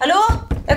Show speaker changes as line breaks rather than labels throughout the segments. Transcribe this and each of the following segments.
Hallo? Jeg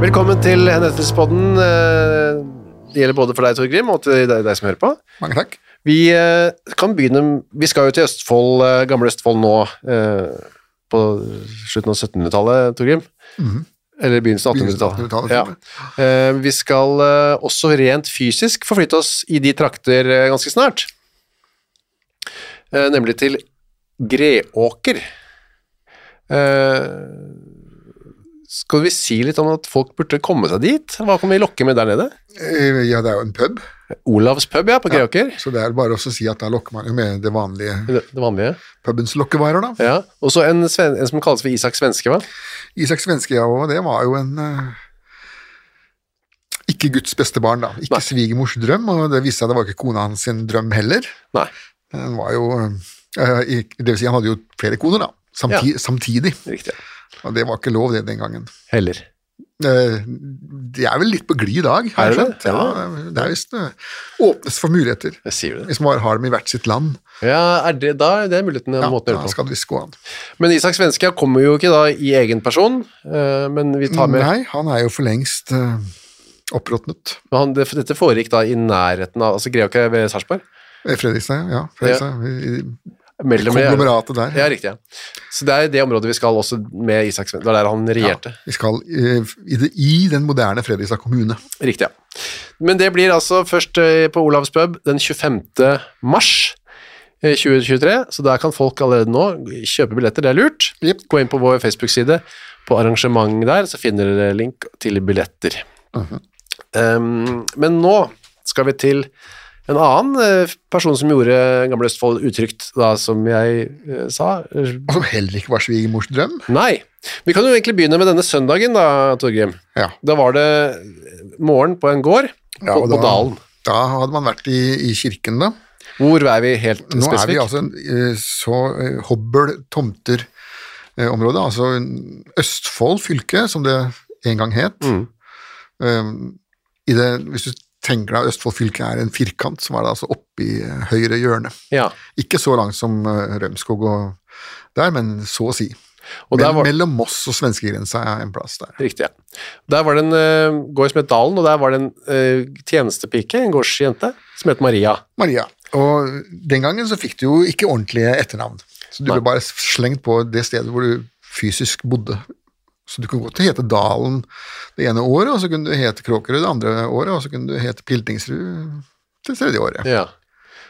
Velkommen til Henrettelsespodden. Eh, Det gjelder både for deg, Torgrim, og til deg, deg som hører på.
Mange takk.
Vi eh, kan begynne Vi skal jo til Østfold, eh, gamle Østfold nå eh, på slutten av 1700-tallet, Torgrim. Eller begynnelsen av
Mhm. Begynnelsen av
1800-tallet.
1800-tallet,
Ja. Eh, Vi skal eh, også rent fysisk forflytte oss i de trakter eh, ganske snart. Eh, Nemlig til Greåker. Eh, Skal vi si litt om at folk burde komme seg dit? Hva kan vi lokke med der nede?
Eh, Ja, det er jo en pub,
Olavs pub, ja, på Greåker.
så det er bare også å si at da lokker man jo med det vanlige
Det, det vanlige.
pubens lokkevarer, da.
Ja, og så en, sven- en som kalles for Isak Svenske, hva?
Isak Svenskejao, det var jo en eh, ikke Guds beste barn, da. Ikke
Nei.
svigermors drøm, og det viste seg at det var ikke kona hans sin drøm heller.
Nei.
Den var jo eh, i, Det vil si, han hadde jo flere koner, da. Samti,
Ja.
Samtidig.
Riktig.
Og det var ikke lov, det, den gangen.
Heller.
Eh, Det er vel litt på glid i dag, har
Er
jeg
det
skjønt.
det? Ja.
Ja, det er visst eh, åpnes for muligheter.
Jeg sier det.
Hvis man bare har dem i hvert sitt land,
Ja, er det, da er det muligheten ja,
ja,
måten å
da
gjøre det på.
skal det visst gå an.
Men Isak Svenske kommer jo ikke da i egen person, eh, men vi tar med
Nei, han er jo for lengst eh, oppråtnet.
men han, det, Dette foregikk da i nærheten av altså Greåker ved Sarpsborg?
Eh, Fredrikstad, ja. Fredrikstad, i- i-
Mellom-
Konglomeratet der.
Ja, riktig. ja. Så det er det området vi skal også med Isak Svenske. Det var der han regjerte.
Vi skal eh, i, det, i den moderne Fredrikstad kommune.
Riktig, ja. Men det blir altså først eh, på Olavs pub den 25. mars eh, 2023, så der kan folk allerede nå kjøpe billetter, det er lurt.
Jep.
Gå inn på vår Facebook-side, på arrangement der, så finner dere link til billetter. um, men nå skal vi til en annen eh, person som gjorde Gamle Østfold utrygt, da, som jeg eh, sa. Eh,
Og som heller ikke var svigermors drøm.
Nei. Vi kan jo egentlig begynne med denne søndagen, da, Torgrim.
Ja.
Da var det morgen på en gård
Ja,
på,
og
på Dalen.
Da hadde man vært i, i kirken, da.
Hvor er vi helt
Nå
spesifikt?
er vi altså en, eh, så eh, hobbel tomter eh, området, altså en Østfold fylke, som det en gang het.
Mm.
Um, i det, hvis du tenker deg Østfold fylke er en firkant, så var det altså oppi eh, høyre hjørne.
Ja,
Ikke så langt som eh, Rømskog og der, men så å si.
og der
Men,
var,
Mellom Moss og svenskegrensa er en plass der.
riktig, ja. Der var det en eh, gård som het Dalen, og der var det en eh, tjenestepike, en gårdsjente, som het Maria.
Maria, og den gangen så fikk du jo ikke ordentlige etternavn. Så du
Nei.
ble bare slengt på det stedet hvor du fysisk bodde. Så du kunne godt hete Dalen det ene året, og så kunne du hete Kråkerud det andre året, og så kunne du hete Piltingsrud det tredje året.
Ja.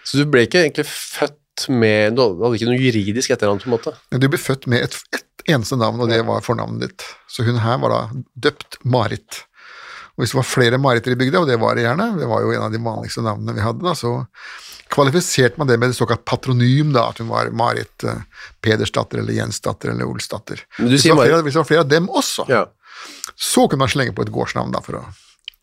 Så du ble ikke egentlig født med Du hadde ikke noe juridisk etternavn, på en måte.
Men du ble født med et, et eneste navn, og det var fornavnet ditt. Så hun her var da døpt Marit. Og hvis det var flere Mariter i bygda, og det var det gjerne, det var jo en av de vanligste navnene vi hadde, da, så kvalifiserte man det med et såkalt patronym, da, at hun var Marit eh, Pedersdatter eller Jensdatter eller Olsdatter.
Men du
Hvis det
sier
var
Marit-
flere, hvis det var flere av dem også,
Ja.
så kunne man slenge på et gårdsnavn da, for å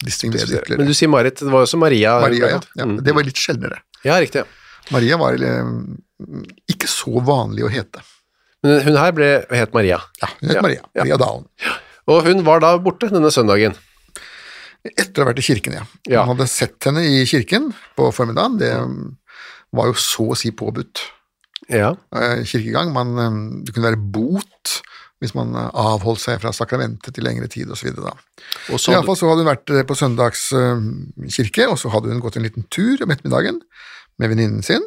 distinguere det
Men
ytterligere.
du sier Marit. Det var jo også Maria.
Maria, ja. ja.
Mm.
Det var litt sjeldnere.
ja, riktig. ja.
Maria var eh, ikke så vanlig å hete.
Men hun her ble, het Maria.
Ja, hun het Maria.
ja.
Maria Dalen.
Og hun var da borte denne søndagen.
Etter å ha vært i kirken, ja.
Ja.
Han hadde sett henne i kirken på formiddagen. Det um, var jo så å si påbudt
Ja.
eh, kirkegang. Man, um, det kunne være bot hvis man eh, avholdt seg fra sakramentet til lengre tid osv.
Og så,
Iallfall så hadde hun vært eh, på søndags eh, kirke, og så hadde hun gått en liten tur om ettermiddagen med venninnen sin.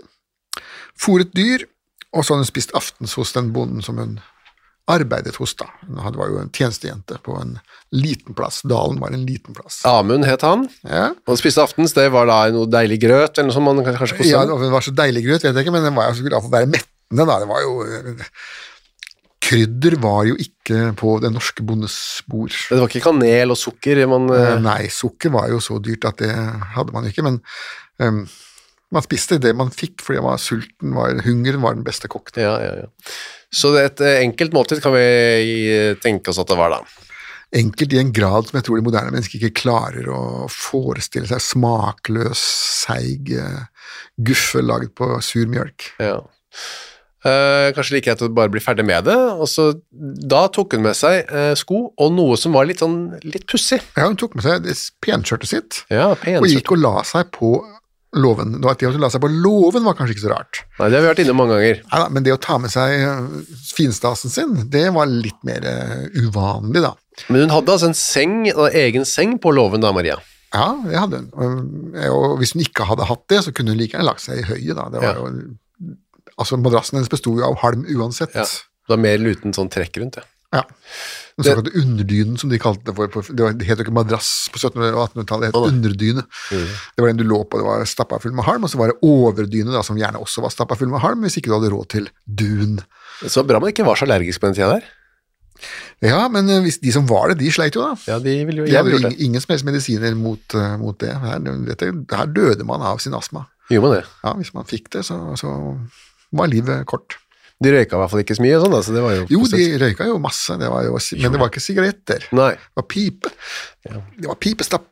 Fôret dyr, og så hadde hun spist aftens hos den bonden som hun arbeidet hos, da. Hun hadde- var jo en tjenestejente på en liten plass. Dalen var en liten plass.
Amund het han.
Ja.
Og spiste aftens, det var da noe deilig grøt eller noe som man kanskje koste
Ja,
med.
om den var så deilig grøt, vet jeg ikke, men den var jo så glad for å være mettende, da. Det var jo eh, Krydder var jo ikke på den norske bondes bord.
Det var ikke kanel og sukker man
Eh,
eh,
Nei, sukker var jo så dyrt at det hadde man ikke, men ehm, man spiste det man fikk fordi man var sulten, var, hungeren var den beste kokken.
ja, ja, ja. Så det er et eh, enkelt måltid kan vi eh, tenke oss at det var, da.
Enkelt i en grad som jeg tror de moderne mennesker ikke klarer å forestille seg. Smakløs, seig eh, guffe laget på sur mjølk.
Ja. Eh, kanskje like greit å bare bli ferdig med det. Og så, da tok hun med seg eh, sko og noe som var litt sånn litt pussig.
Ja, hun tok med seg det penskjørtet sitt.
Ja,
og
penskjørt.
gikk og la seg på låven. Nå, At de la seg på låven var kanskje ikke så rart,
Nei, det har vi vært inne mange ganger.
Neida, men det å ta med seg øh, finstasen sin, det var litt mer øh, uvanlig, da.
Men hun hadde altså en seng, en egen seng på låven da, Maria.
Ja, det hadde hun. Og, øh, Og hvis hun ikke hadde hatt det, så kunne hun like gjerne lagt seg i høyet, da. Det
Ja.
var jo, altså, madrassen hennes besto jo av halm uansett.
Ja. Det var mer luten sånn trekk rundt, ja.
Ja. Den såkalte underdynen, som de kalte det for. på- Det var- det het jo ikke madrass på 1700- og 1800-tallet, det het underdyne. Det var den du lå på, det var stappa full med halm, og så var det overdyne, da, som gjerne også var stappa full med halm, hvis ikke du hadde råd til dun.
Så bra man ikke var så allergisk på den tida der.
Ja, men eh, hvis de som var det, de sleit jo, da.
Ja, de ville jo
De
jeg
hadde
ville
jo
gjort
ingen,
det.
ingen som helst medisiner mot, eh, mot det. Her, dette, her døde man av sin astma.
Gjorde man det.
Ja, Hvis man fikk det, så, så var livet kort.
De røyka i hvert fall ikke så mye og sånn, da, så det var jo
Jo,
positivt.
de røyka jo masse, det var jo, men det var ikke sigaretter.
Nei.
Det var pipe. Det var pipestapp.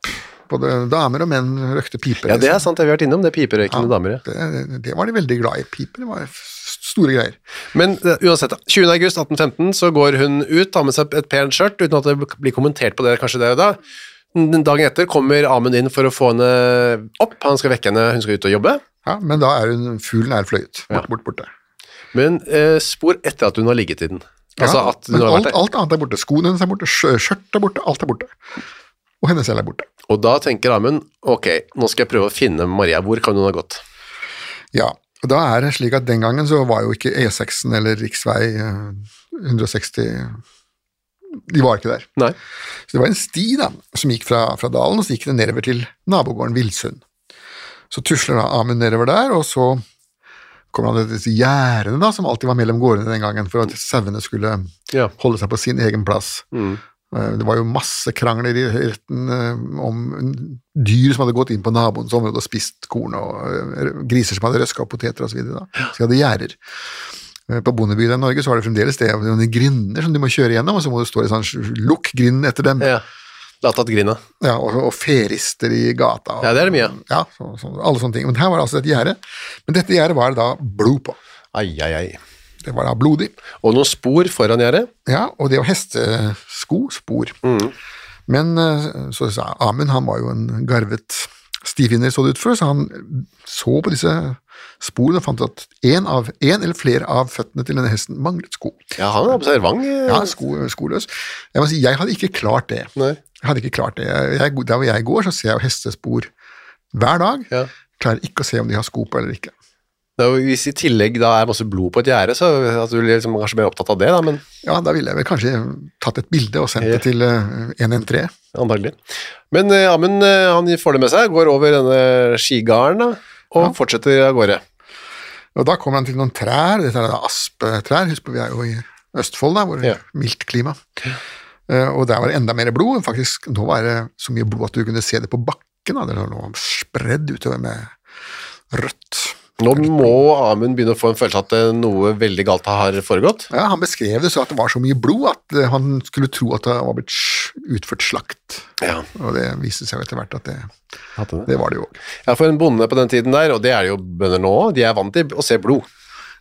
Både damer og menn røykte piper.
Ja, det er
liksom.
sant, det har vi vært innom, det piperøykende damer, ja.
det, det var de veldig glad i. Piper det var f- store greier.
Men eh, uansett, da. 20. august 1815 så går hun ut, tar med seg et pent skjørt, uten at det bl- blir kommentert på det kanskje der og da. Den dagen etter kommer Amund inn for å få henne opp, han skal vekke henne, hun skal ut og jobbe.
Ja, men da er hun fuglen er fløyet. Bort, bort, borte.
Men eh, spor etter at hun har ligget i den. Altså
Ja,
at hun har
men alt,
vært der.
alt annet er borte. Skoene hennes er borte, skjø- skjørtet er borte, alt er borte. Og henne selv er borte.
Og da tenker Amund, ok, nå skal jeg prøve å finne Maria, hvor kan hun ha gått?
Ja, og da er det slik at den gangen så var jo ikke E6-en eller riksvei eh, 160 De var ikke der.
Nei.
Så det var en sti da, som gikk fra, fra dalen, og så gikk det nedover til nabogården Vilsund. Så tusler da Amund nedover der, og så kommer han til disse gjerdene da, som alltid var mellom gårdene den gangen, for at sauene skulle
Ja.
holde seg på sin egen plass. Eh, Det var jo masse krangler i retten eh, om dyr som hadde gått inn på naboens område og spist korn, og eh, griser som hadde røska opp poteter osv. Så, videre, da. så de hadde gjerder. Eh, På bondebygda i Norge så har de fremdeles det, noen grinder som du må kjøre gjennom, og så må du stå i sånn lukk grinden etter dem,
Ja.
ja.
Latat grina.
og, og ferister i gata. Og,
Ja, det er det mye av.
Ja, så, så, alle sånne ting. Men her var det altså et gjerde. Men dette gjerdet var det da blod på.
Ai, ai, ai.
Det var da blodig.
Og noen spor foran gjerdet.
Ja, og det var hestesko, spor.
Mm.
Men eh, så sa Amund, han var jo en garvet stifinner, så det ut for, så han så på disse sporene og fant at én eller flere av føttene til denne hesten manglet sko.
Ja, han er observant. eh. sånn
Ja, sko, skoløs. Jeg må si, jeg hadde ikke klart det.
Nei.
Jeg hadde ikke klart det. Jeg, jeg- der hvor jeg går, så ser jeg jo hestespor hver dag.
Ja.
Klarer ikke å se om de har sko på eller ikke.
Det er jo- Hvis i tillegg da er masse blod på et gjerde, så er du liksom kanskje mer opptatt av det, da, men
Ja, da ville jeg vel kanskje tatt et bilde og sendt
Ja.
det til eh, 113.
antagelig. Men eh, Amund eh, han får det med seg, går over denne skigarden da, og fortsetter av gårde.
Og da kommer han til noen trær, dette er da aspetrær, husk på vi er jo i Østfold der, hvor det er mildt klima. Eh, Og der var det enda mer blod, faktisk nå var det så mye blod at du kunne se det på bakken, da. det lå spredd utover med rødt.
Nå må Amund begynne å få en følelse at eh, noe veldig galt har foregått.
Ja, han beskrev det så at det var så mye blod at eh, han skulle tro at det var blitt sj- utført slakt,
Ja,
og det viste seg jo etter hvert at det,
hadde det.
det var det jo.
Ja, for en bonde på den tiden der, og det er det jo bønder nå, de er vant til å se blod.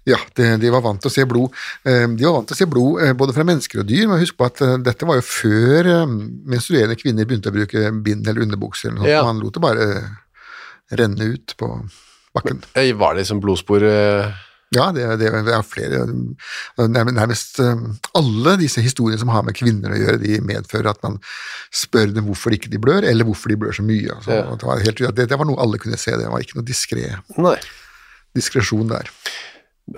Ja, de, de var vant til å se blod. Eh, De var vant til å se blod eh, både fra mennesker og dyr, men husk på at eh, dette var jo før eh, menstruerende kvinner begynte å bruke bind eller underbukser. Eller noe. sånt.
Ja.
Man lot det bare eh, renne ut på bakken.
Eh, Var det liksom blodspor eh?
Ja, det, det, det er flere nærmest, nærmest eh, alle disse historiene som har med kvinner å gjøre, de medfører at man spør dem hvorfor ikke de blør, eller hvorfor de blør så mye. Altså,
Ja.
det, var helt, det, det var noe alle kunne se, det var ikke noe diskre,
Nei.
diskresjon der.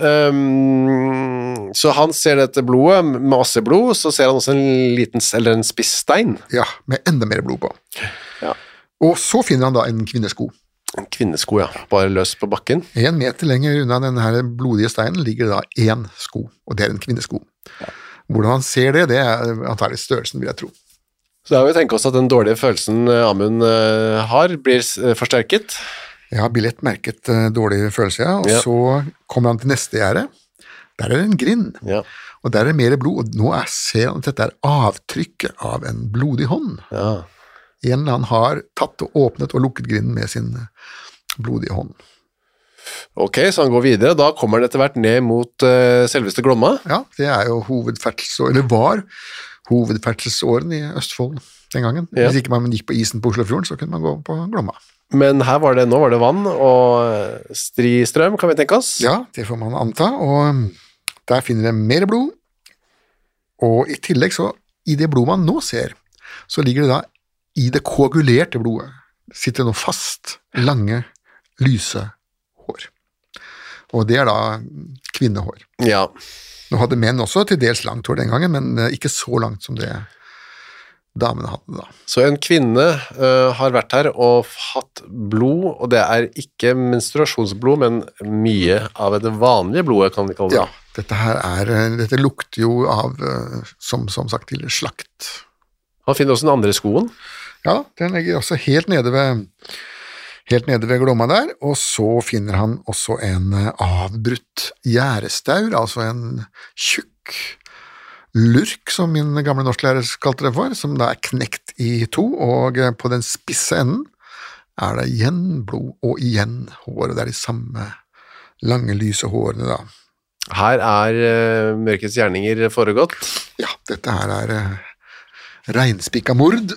Ehm, så han ser dette blodet, masse blod, så ser han også en liten, s- eller en spiss stein.
Ja, med enda mer blod på.
Ja.
Og så finner han da en kvinnesko.
En kvinnesko, ja. Bare løs på bakken.
En meter lenger unna denne her blodige steinen ligger da én sko, og det er en kvinnesko. Hvordan han ser det, det er antagelig størrelsen, vil jeg tro.
Så da vil vi tenke oss at den dårlige følelsen eh, Amund eh, har, blir s- eh, forsterket.
Ja, billett merket eh, dårlig følelse, ja. Og
Ja.
så kommer han til neste gjerde. Der er det en grind,
Ja.
og der er mer blod. Og nå er, ser han at dette er avtrykket av en blodig hånd.
Ja.
En eller annen har tatt og åpnet og lukket grinden med sin eh, blodige hånd.
Ok, så han går videre. Da kommer han etter hvert ned mot eh, selveste Glomma.
Ja, det er jo hovedferdselsåren, eller var hovedferdselsåren i Østfold den gangen.
Ja.
Hvis ikke man gikk på isen på Oslofjorden, så kunne man gå på Glomma.
Men her var det, nå var det vann og eh, stristrøm, kan vi tenke oss.
Ja, det får man anta, og um, der finner de mer blod. Og i tillegg så, i det blodet man nå ser, så ligger det da i det koagulerte blodet sitter det nå fast lange, lyse hår. Og det er da kvinnehår.
Ja.
Nå hadde menn også til dels langt hår den gangen, men eh, ikke så langt som det damene hadde da.
Så en kvinne eh, har vært her og hatt blod, og det er ikke menstruasjonsblod, men mye av det vanlige blodet, kan vi kalle det.
Ja, dette her er eh, Dette lukter jo av, eh, som, som sagt, til slakt.
Han finner også den andre skoen.
Ja, den ligger også helt nede ved Helt nede ved Glomma der, og så finner han også en eh, avbrutt gjærestaur, altså en tjukk lurk, som min gamle norsklærer kalte det for, som da er knekt i to, og eh, på den spisse enden er det igjen blod og igjen hår, og det er de samme lange, lyse hårene da.
Her er eh, mørkets gjerninger foregått,
Ja, dette her er eh, reinspikka mord,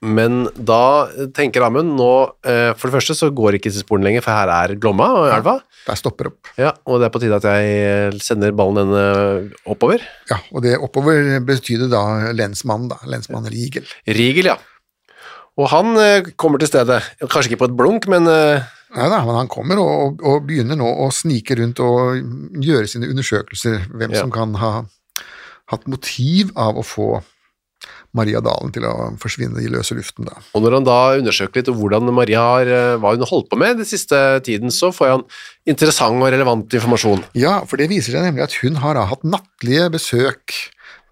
men da tenker Amund nå eh, For det første så går ikke disse sporene lenger, for her er Glomma og elva.
der stopper opp.
Ja, og det er på tide at jeg eh, sender ballen denne oppover.
Ja, og det oppover betyr det da lensmannen, da. Lensmann Riegel.
Rigel, ja. Og han eh, kommer til stedet. Kanskje ikke på et blunk, men eh,
Nei da, men han kommer og, og, og begynner nå å snike rundt og gjøre sine undersøkelser, hvem
Ja.
som kan ha hatt motiv av å få Maria Dalen til å forsvinne i løse luften, da.
Og når han da undersøker litt om hvordan Maria har, eh, hva hun har holdt på med den siste tiden, så får han interessant og relevant informasjon.
Ja, for det viser seg nemlig at hun har da hatt nattlige besøk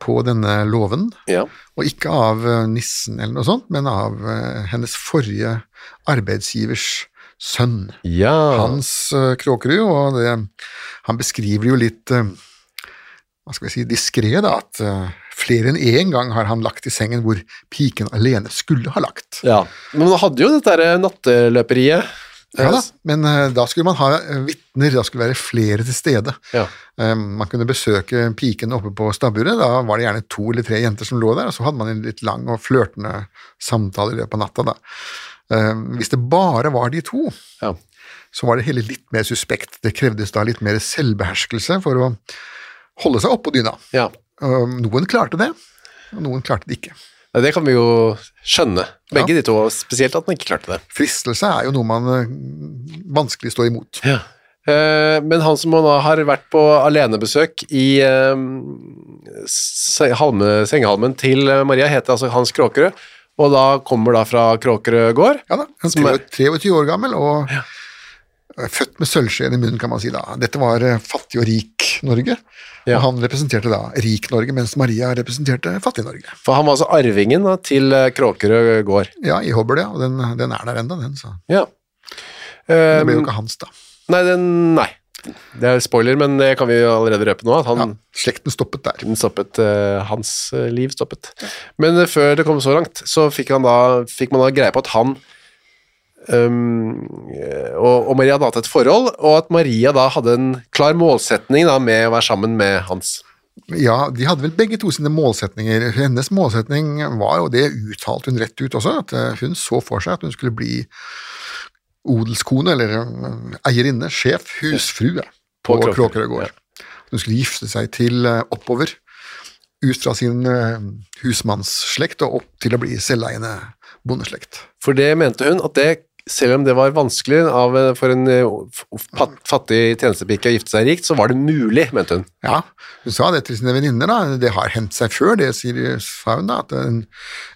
på denne låven,
Ja.
og ikke av eh, nissen eller noe sånt, men av eh, hennes forrige arbeidsgivers sønn. Hans eh, Kråkerud, og det, han beskriver jo litt eh, hva skal vi si, diskré, da, at eh, flere enn én gang har han lagt i sengen hvor piken alene skulle ha lagt.
ja. Men han hadde jo dette der natteløperiet.
Ja da, Men eh, da skulle man ha eh, vitner, da skulle det være flere til stede.
Ja.
Eh, Man kunne besøke piken oppe på stabburet, da var det gjerne to eller tre jenter som lå der, og så hadde man en litt lang og flørtende samtale i løpet av natta. Da. Eh, Hvis det bare var de to,
Ja.
så var det hele litt mer suspekt. Det krevdes da litt mer selvbeherskelse for å holde seg oppå dyna.
Ja.
Um, Noen klarte det, og noen klarte det ikke.
Ja, Det kan vi jo skjønne, begge de to, og spesielt at han ikke klarte det.
Fristelse er jo noe man eh, vanskelig står imot.
Eh, Men han som da har vært på alenebesøk i eh, se- halme, sengehalmen til eh, Maria, heter altså Hans Kråkerød, og da kommer da fra Kråkerød gård.
Ja da, han
Som er-
er 23 år gammel og er født med sølvskjeen i munnen, kan man si da. Dette var eh, fattig og rik Norge,
Ja.
og han representerte da rik Norge, mens Maria representerte fattig Norge.
For han var altså arvingen da, til eh, Kråkerød gård.
Ja, i Hobøl, ja, og den, den er der enda, den, så
Ja.
det
Eh,
ble jo ikke hans da.
nei, den, nei, det er spoiler, men det kan vi jo allerede røpe nå, at han
Ja, slekten stoppet der.
den stoppet, eh, hans eh, liv stoppet. Men eh, før det kom så langt, så fikk, han da, fikk man da greie på at han Um, og, og Maria hadde hatt et forhold, og at Maria da hadde en klar målsetning da, med å være sammen med Hans.
Ja, de hadde vel begge to sine målsetninger. Hennes målsetning var jo, det uttalte hun rett ut også, at eh, hun så for seg at hun skulle bli odelskone, eller eh, eierinne, sjef, husfrue på,
Kråkerøy.
Kråkerøy gård. Hun skulle gifte seg til eh, oppover, ut fra sin eh, husmannsslekt og opp til å bli selveiende bondeslekt.
For det mente hun at det, selv om det var vanskelig av, for en eh, f- fat- fattig tjenestepike å gifte seg rikt, så var det mulig, mente hun.
Ja, hun sa det til sine venninner, da. Det har hendt seg før, det sier sa hun, da. At en,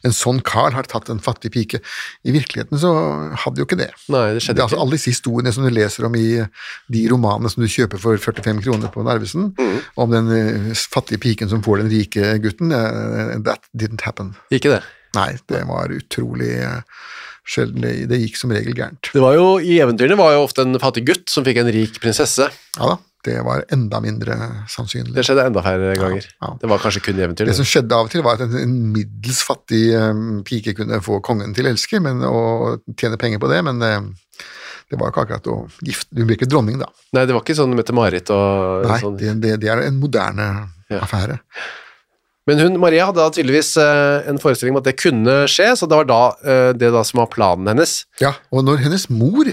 en sånn kar har tatt en fattig pike. I virkeligheten så hadde jo ikke det.
Nei, det skjedde
er altså
ikke.
alle disse historiene som du leser om i de romanene som du kjøper for 45 kroner på Narvesen,
Mm.
om den eh, fattige piken som får den rike gutten, eh, that didn't happen.
Ikke det.
Nei, det var utrolig eh, sjelden. Det, det gikk som regel gærent.
Det var jo, I eventyrene var jo ofte en fattig gutt som fikk en rik prinsesse.
Ja da, det var enda mindre sannsynlig.
Det skjedde enda færre ganger.
Ja, ja.
Det var kanskje kun i
Det
eventyrene.
som skjedde av og til, var at en- en middels fattig eh, pike kunne få kongen til å elske men, og tjene penger på det, men eh, det var jo ikke akkurat å gifte Hun ble ikke dronning, da.
Nei, det var ikke sånn Mette-Marit og
Nei,
sånn.
det, det, det er en moderne
Ja.
affære.
Men hun, Maria hadde da tydeligvis eh, en forestilling om at det kunne skje, så det var da eh, det da som var planen hennes.
Ja, og når hennes mor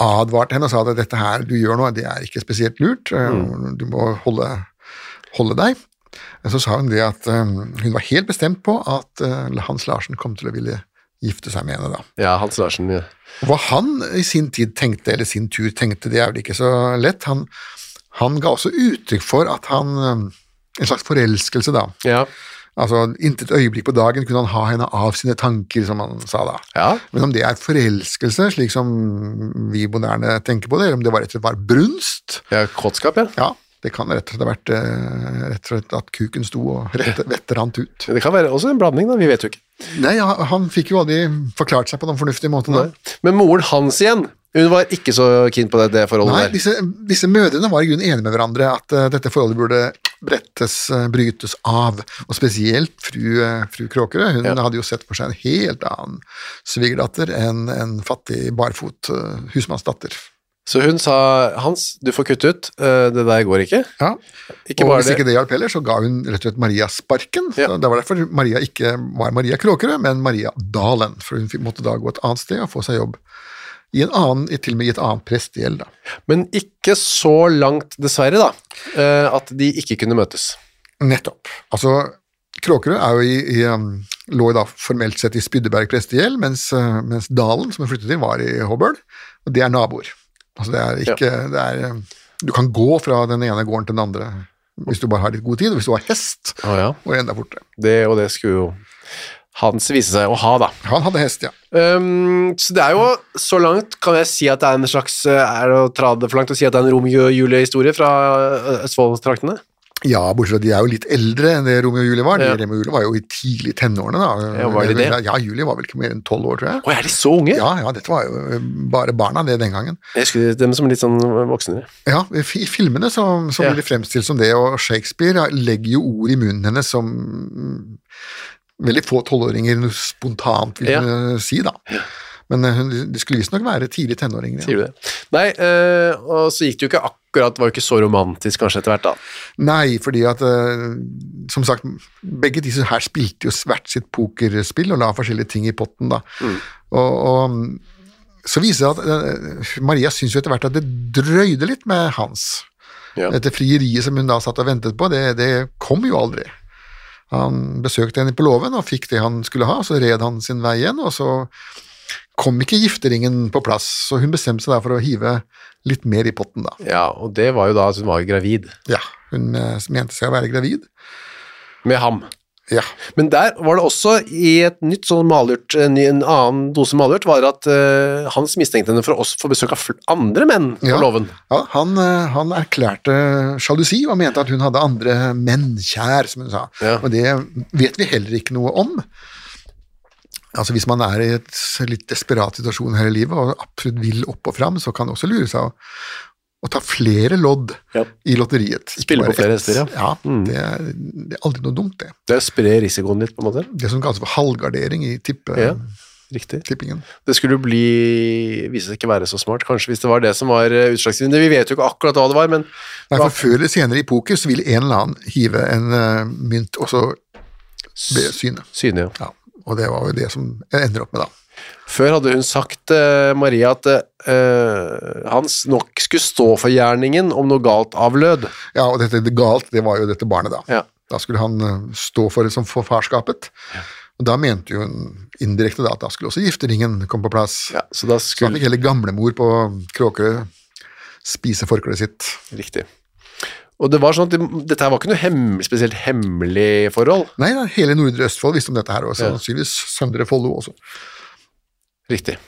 advarte henne og sa at dette her du gjør nå, det er ikke spesielt lurt, eh,
Mm.
du må holde, holde deg, så sa hun det at eh, hun var helt bestemt på at eh, Hans Larsen kom til å ville gifte seg med henne da.
Ja, Hans Larsen. Ja.
Hva han i sin tid tenkte, eller sin tur tenkte, det er vel ikke så lett. Han, han ga også uttrykk for at han øhm, En slags forelskelse, da.
Ja.
Altså, Intet øyeblikk på dagen kunne han ha henne av sine tanker, som han sa da.
Ja.
Men om det er forelskelse, slik som vi moderne tenker på det, eller om det var rett og slett var brunst
ja, kåtskap, ja.
Ja, det kan rett og slett ha vært øh, rett og slett at kuken sto og rett, vettet rant ut.
Det kan være også en blanding, da. Vi vet jo ikke.
Nei, han, han fikk jo aldri forklart seg på noen fornuftig måte. da.
Men moren hans igjen, hun var ikke så keen på det, det forholdet
Nei,
der.
disse, disse mødrene var i grunnen enige med hverandre at eh, dette forholdet burde brettes, eh, brytes av, og spesielt fru, eh, fru Kråkerø. Hun
Ja.
hadde jo sett for seg en helt annen svigerdatter enn en fattig barfot eh, husmannsdatter.
Så hun sa Hans, du får kutte ut, eh, det der går ikke.
Ja,
Ikke
og
bare
hvis
det.
ikke det hjalp heller, så ga hun rett og slett Maria sparken.
Ja.
Så Det var derfor Maria ikke var Maria Kråkerø, men Maria Dalen, for hun fikk- måtte da gå et annet sted og få seg jobb. I en annen, i- til og med i et annet prestegjeld, da.
Men ikke så langt, dessverre, da, eh, at de ikke kunne møtes.
Nettopp. Altså, Kråkerø er jo i, i, um, lå jo da formelt sett i Spydeberg prestegjeld, mens, uh, mens Dalen, som hun flyttet til, var i Hobøl. Og det er naboer. Altså, det er ikke det er, um, Du kan gå fra den ene gården til den andre hvis du bare har litt god tid, og hvis du har hest,
Å ja.
og enda fortere.
Det, og det skulle jo Hans vise seg å ha, da.
Han hadde hest, ja.
Ehm, så det er jo så langt kan jeg si at det er en slags eh, Er det å trade det for langt å si at det er en Romeo og Julie-historie fra eh, Østfold-traktene?
Ja, bortsett fra de er jo litt eldre enn det Romeo og Julie var.
Ja.
De, Romeo og Julie var jo i tidlig tenårene, da.
Ja, var de det?
Ja, Julie var vel ikke mer enn tolv år, tror jeg.
Å, er de så unge?
Ja, ja, dette var jo um, bare barna, det den gangen.
Jeg husker dem som litt sånn voksnere.
Ja, i fi- i filmene så, så
Ja.
blir det fremstilt som det, og Shakespeare legger jo ord i munnen hennes som mm, veldig få tolvåringer spontant vil
Ja.
kunne si, da. Men eh, hun- de skulle visstnok være tidlig tenåringer. Ja.
Sier du det? Nei, eh, og så gikk det jo ikke akkurat Det var jo ikke så romantisk kanskje etter hvert, da.
Nei, fordi at eh, som sagt, begge disse her spilte jo hvert sitt pokerspill og la forskjellige ting i potten, da. Og, og mm, så viser det seg at eh, Maria syns jo etter hvert at det drøyde litt med Hans.
Ja.
Dette frieriet som hun da satt og ventet på, det, det kom jo aldri. Han besøkte henne på låven og fikk det han skulle ha, så red han sin vei igjen, og så kom ikke gifteringen på plass, så hun bestemte seg da for å hive litt mer i potten, da.
ja, og det var jo da at hun var gravid
Ja, hun eh, mente seg å være gravid.
med ham.
Ja,
Men der var det også i et nytt sånn malurt, en, ny- en annen dose malurt, var at eh, Hans mistenkte henne for å også få besøk av fl- andre menn på
Ja.
låven.
ja han, eh, han erklærte sjalusi og mente at hun hadde andre menn kjær, som hun sa.
Ja.
Og det vet vi heller ikke noe om. Altså Hvis man er i et s- litt desperat situasjon her i livet og absolutt vil opp og fram, så kan det også lure seg å, å ta flere lodd
Ja.
i lotteriet. Ikke
Spille på
bare
flere
ett.
hester, ja. Mm.
ja det, er, det er aldri noe dumt, det.
Det sprer risikoen litt, på en måte.
Det som kalles for halvgardering i tippe...
Ja. Riktig.
tippingen.
Det skulle jo bli Vise seg ikke være så smart, kanskje, hvis det var det som var eh, utslagsgivende. Vi vet jo ikke akkurat hva det var, men
Nei, for Før eller senere i poker så vil en eller annen hive en eh, mynt, og så ble synet.
synlig.
Ja, og det var jo det som jeg ender opp med, da.
Før hadde hun sagt, eh, Maria, at eh, Hans nok skulle stå for gjerningen om noe galt avlød.
Ja, Og dette det galt, det var jo dette barnet, da.
Ja.
Da skulle han eh, stå for det som for farskapet. Og da mente jo hun indirekte da at da skulle også gifteringen komme på plass.
ja så da
Så han
skulle
fikk hele gamlemor på Kråkerø spise forkleet sitt.
Riktig. Og det var sånn at de, dette her var ikke noe hemmelig, spesielt hemmelig forhold.
Nei, nei, hele Nordre Østfold visste om dette her, og
Ja.
sannsynligvis Søndre Follo også.
Riktig.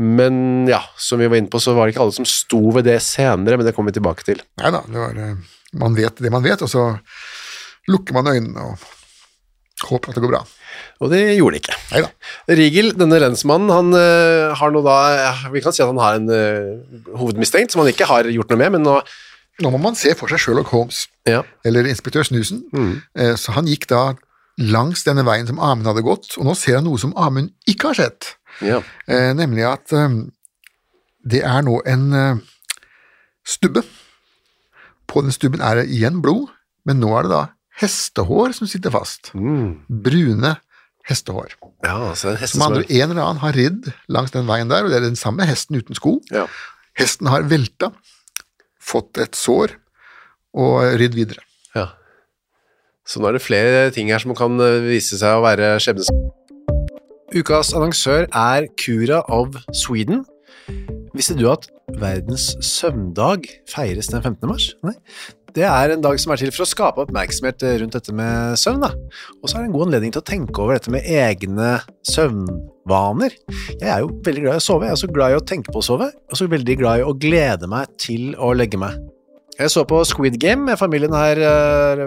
Men ja, som vi var inne på, så var det ikke alle som sto ved det senere, men det kommer vi tilbake til.
Nei da, det var eh, Man vet det man vet, og så lukker man øynene og håper at det går bra.
Og det gjorde det ikke.
Nei da.
Rigel, denne lensmannen, han eh, har nå da ja, Vi kan si at han har en eh, hovedmistenkt som han ikke har gjort noe med, men nå
Nå må man se for seg Sherlock Holmes,
ja.
eller inspektør Snusen. Eh, Så han gikk da langs denne veien som Amund hadde gått, og nå ser han noe som Amund ikke har sett,
ja.
eh, nemlig at eh, det er nå en eh, stubbe. På den stubben er det igjen blod, men nå er det da hestehår som sitter fast.
Mm.
Brune hestehår.
ja, så det er en hest
Med
som
andre
er
ord, en eller annen har ridd langs den veien der, og det er den samme hesten uten sko.
ja.
Hesten har velta, fått et sår og ridd videre.
ja. Så nå er det flere ting her som kan eh, vise seg å være skjebnes... Ukas annonsør er Cura of Sweden. Visste du at verdens søvndag feires den 15. mars? Nei. Det er en dag som er til for å skape oppmerksomhet eh, rundt dette med søvn. da. Og så er det en god anledning til å tenke over dette med egne søvnvaner. Jeg er jo veldig glad i å sove, jeg er også glad i å tenke på å sove, og så veldig glad i å glede meg til å legge meg. Jeg så på Squid Game med familien her eh,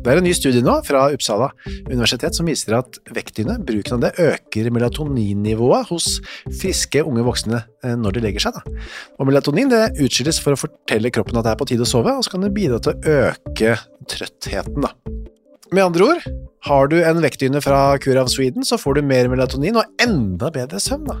Det er en ny studie nå fra Uppsala universitet som viser at vektdyne, bruken av det, øker melatoninnivået hos friske unge voksne eh, når de legger seg. Da. Og melatonin det utskilles for å fortelle kroppen at det er på tide å sove, og så kan det bidra til å øke trøttheten. Da. Med andre ord, har du en vektdyne fra Cura of Sweden, så får du mer melatonin og enda bedre søvn. da.